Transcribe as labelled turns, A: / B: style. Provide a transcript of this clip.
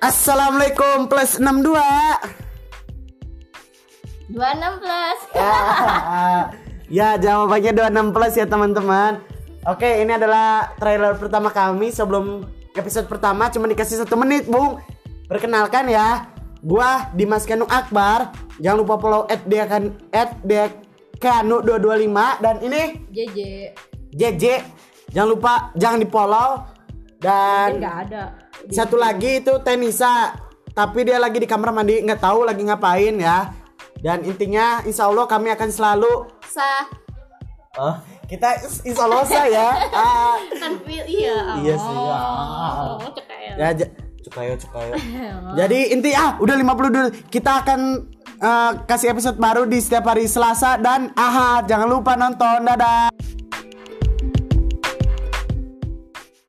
A: Assalamualaikum plus 62
B: 26 plus
A: Ah. Ya jawabannya 26 plus ya teman-teman Oke ini adalah trailer pertama kami sebelum episode pertama cuma dikasih satu menit Bung Perkenalkan ya Gua Dimas Kanu Akbar Jangan lupa follow at dekan at dekanu 225 Dan ini
B: JJ
A: JJ Jangan lupa jangan di follow Dan
B: Enggak ada
A: Satu lagi itu Tenisa, tapi dia lagi di kamar mandi nggak tahu lagi ngapain ya. Dan intinya Insya Allah kami akan selalu
B: Sa
A: oh, kita Insya Allah saya Ah.
B: Kan feel iya
A: Iya sih, ya.
B: Oh, cekel.
A: ya j- cukayo cukayo. Jadi inti ah udah 50 dulu kita akan eh, kasih episode baru di setiap hari Selasa dan Ahad. Jangan lupa nonton. Dadah.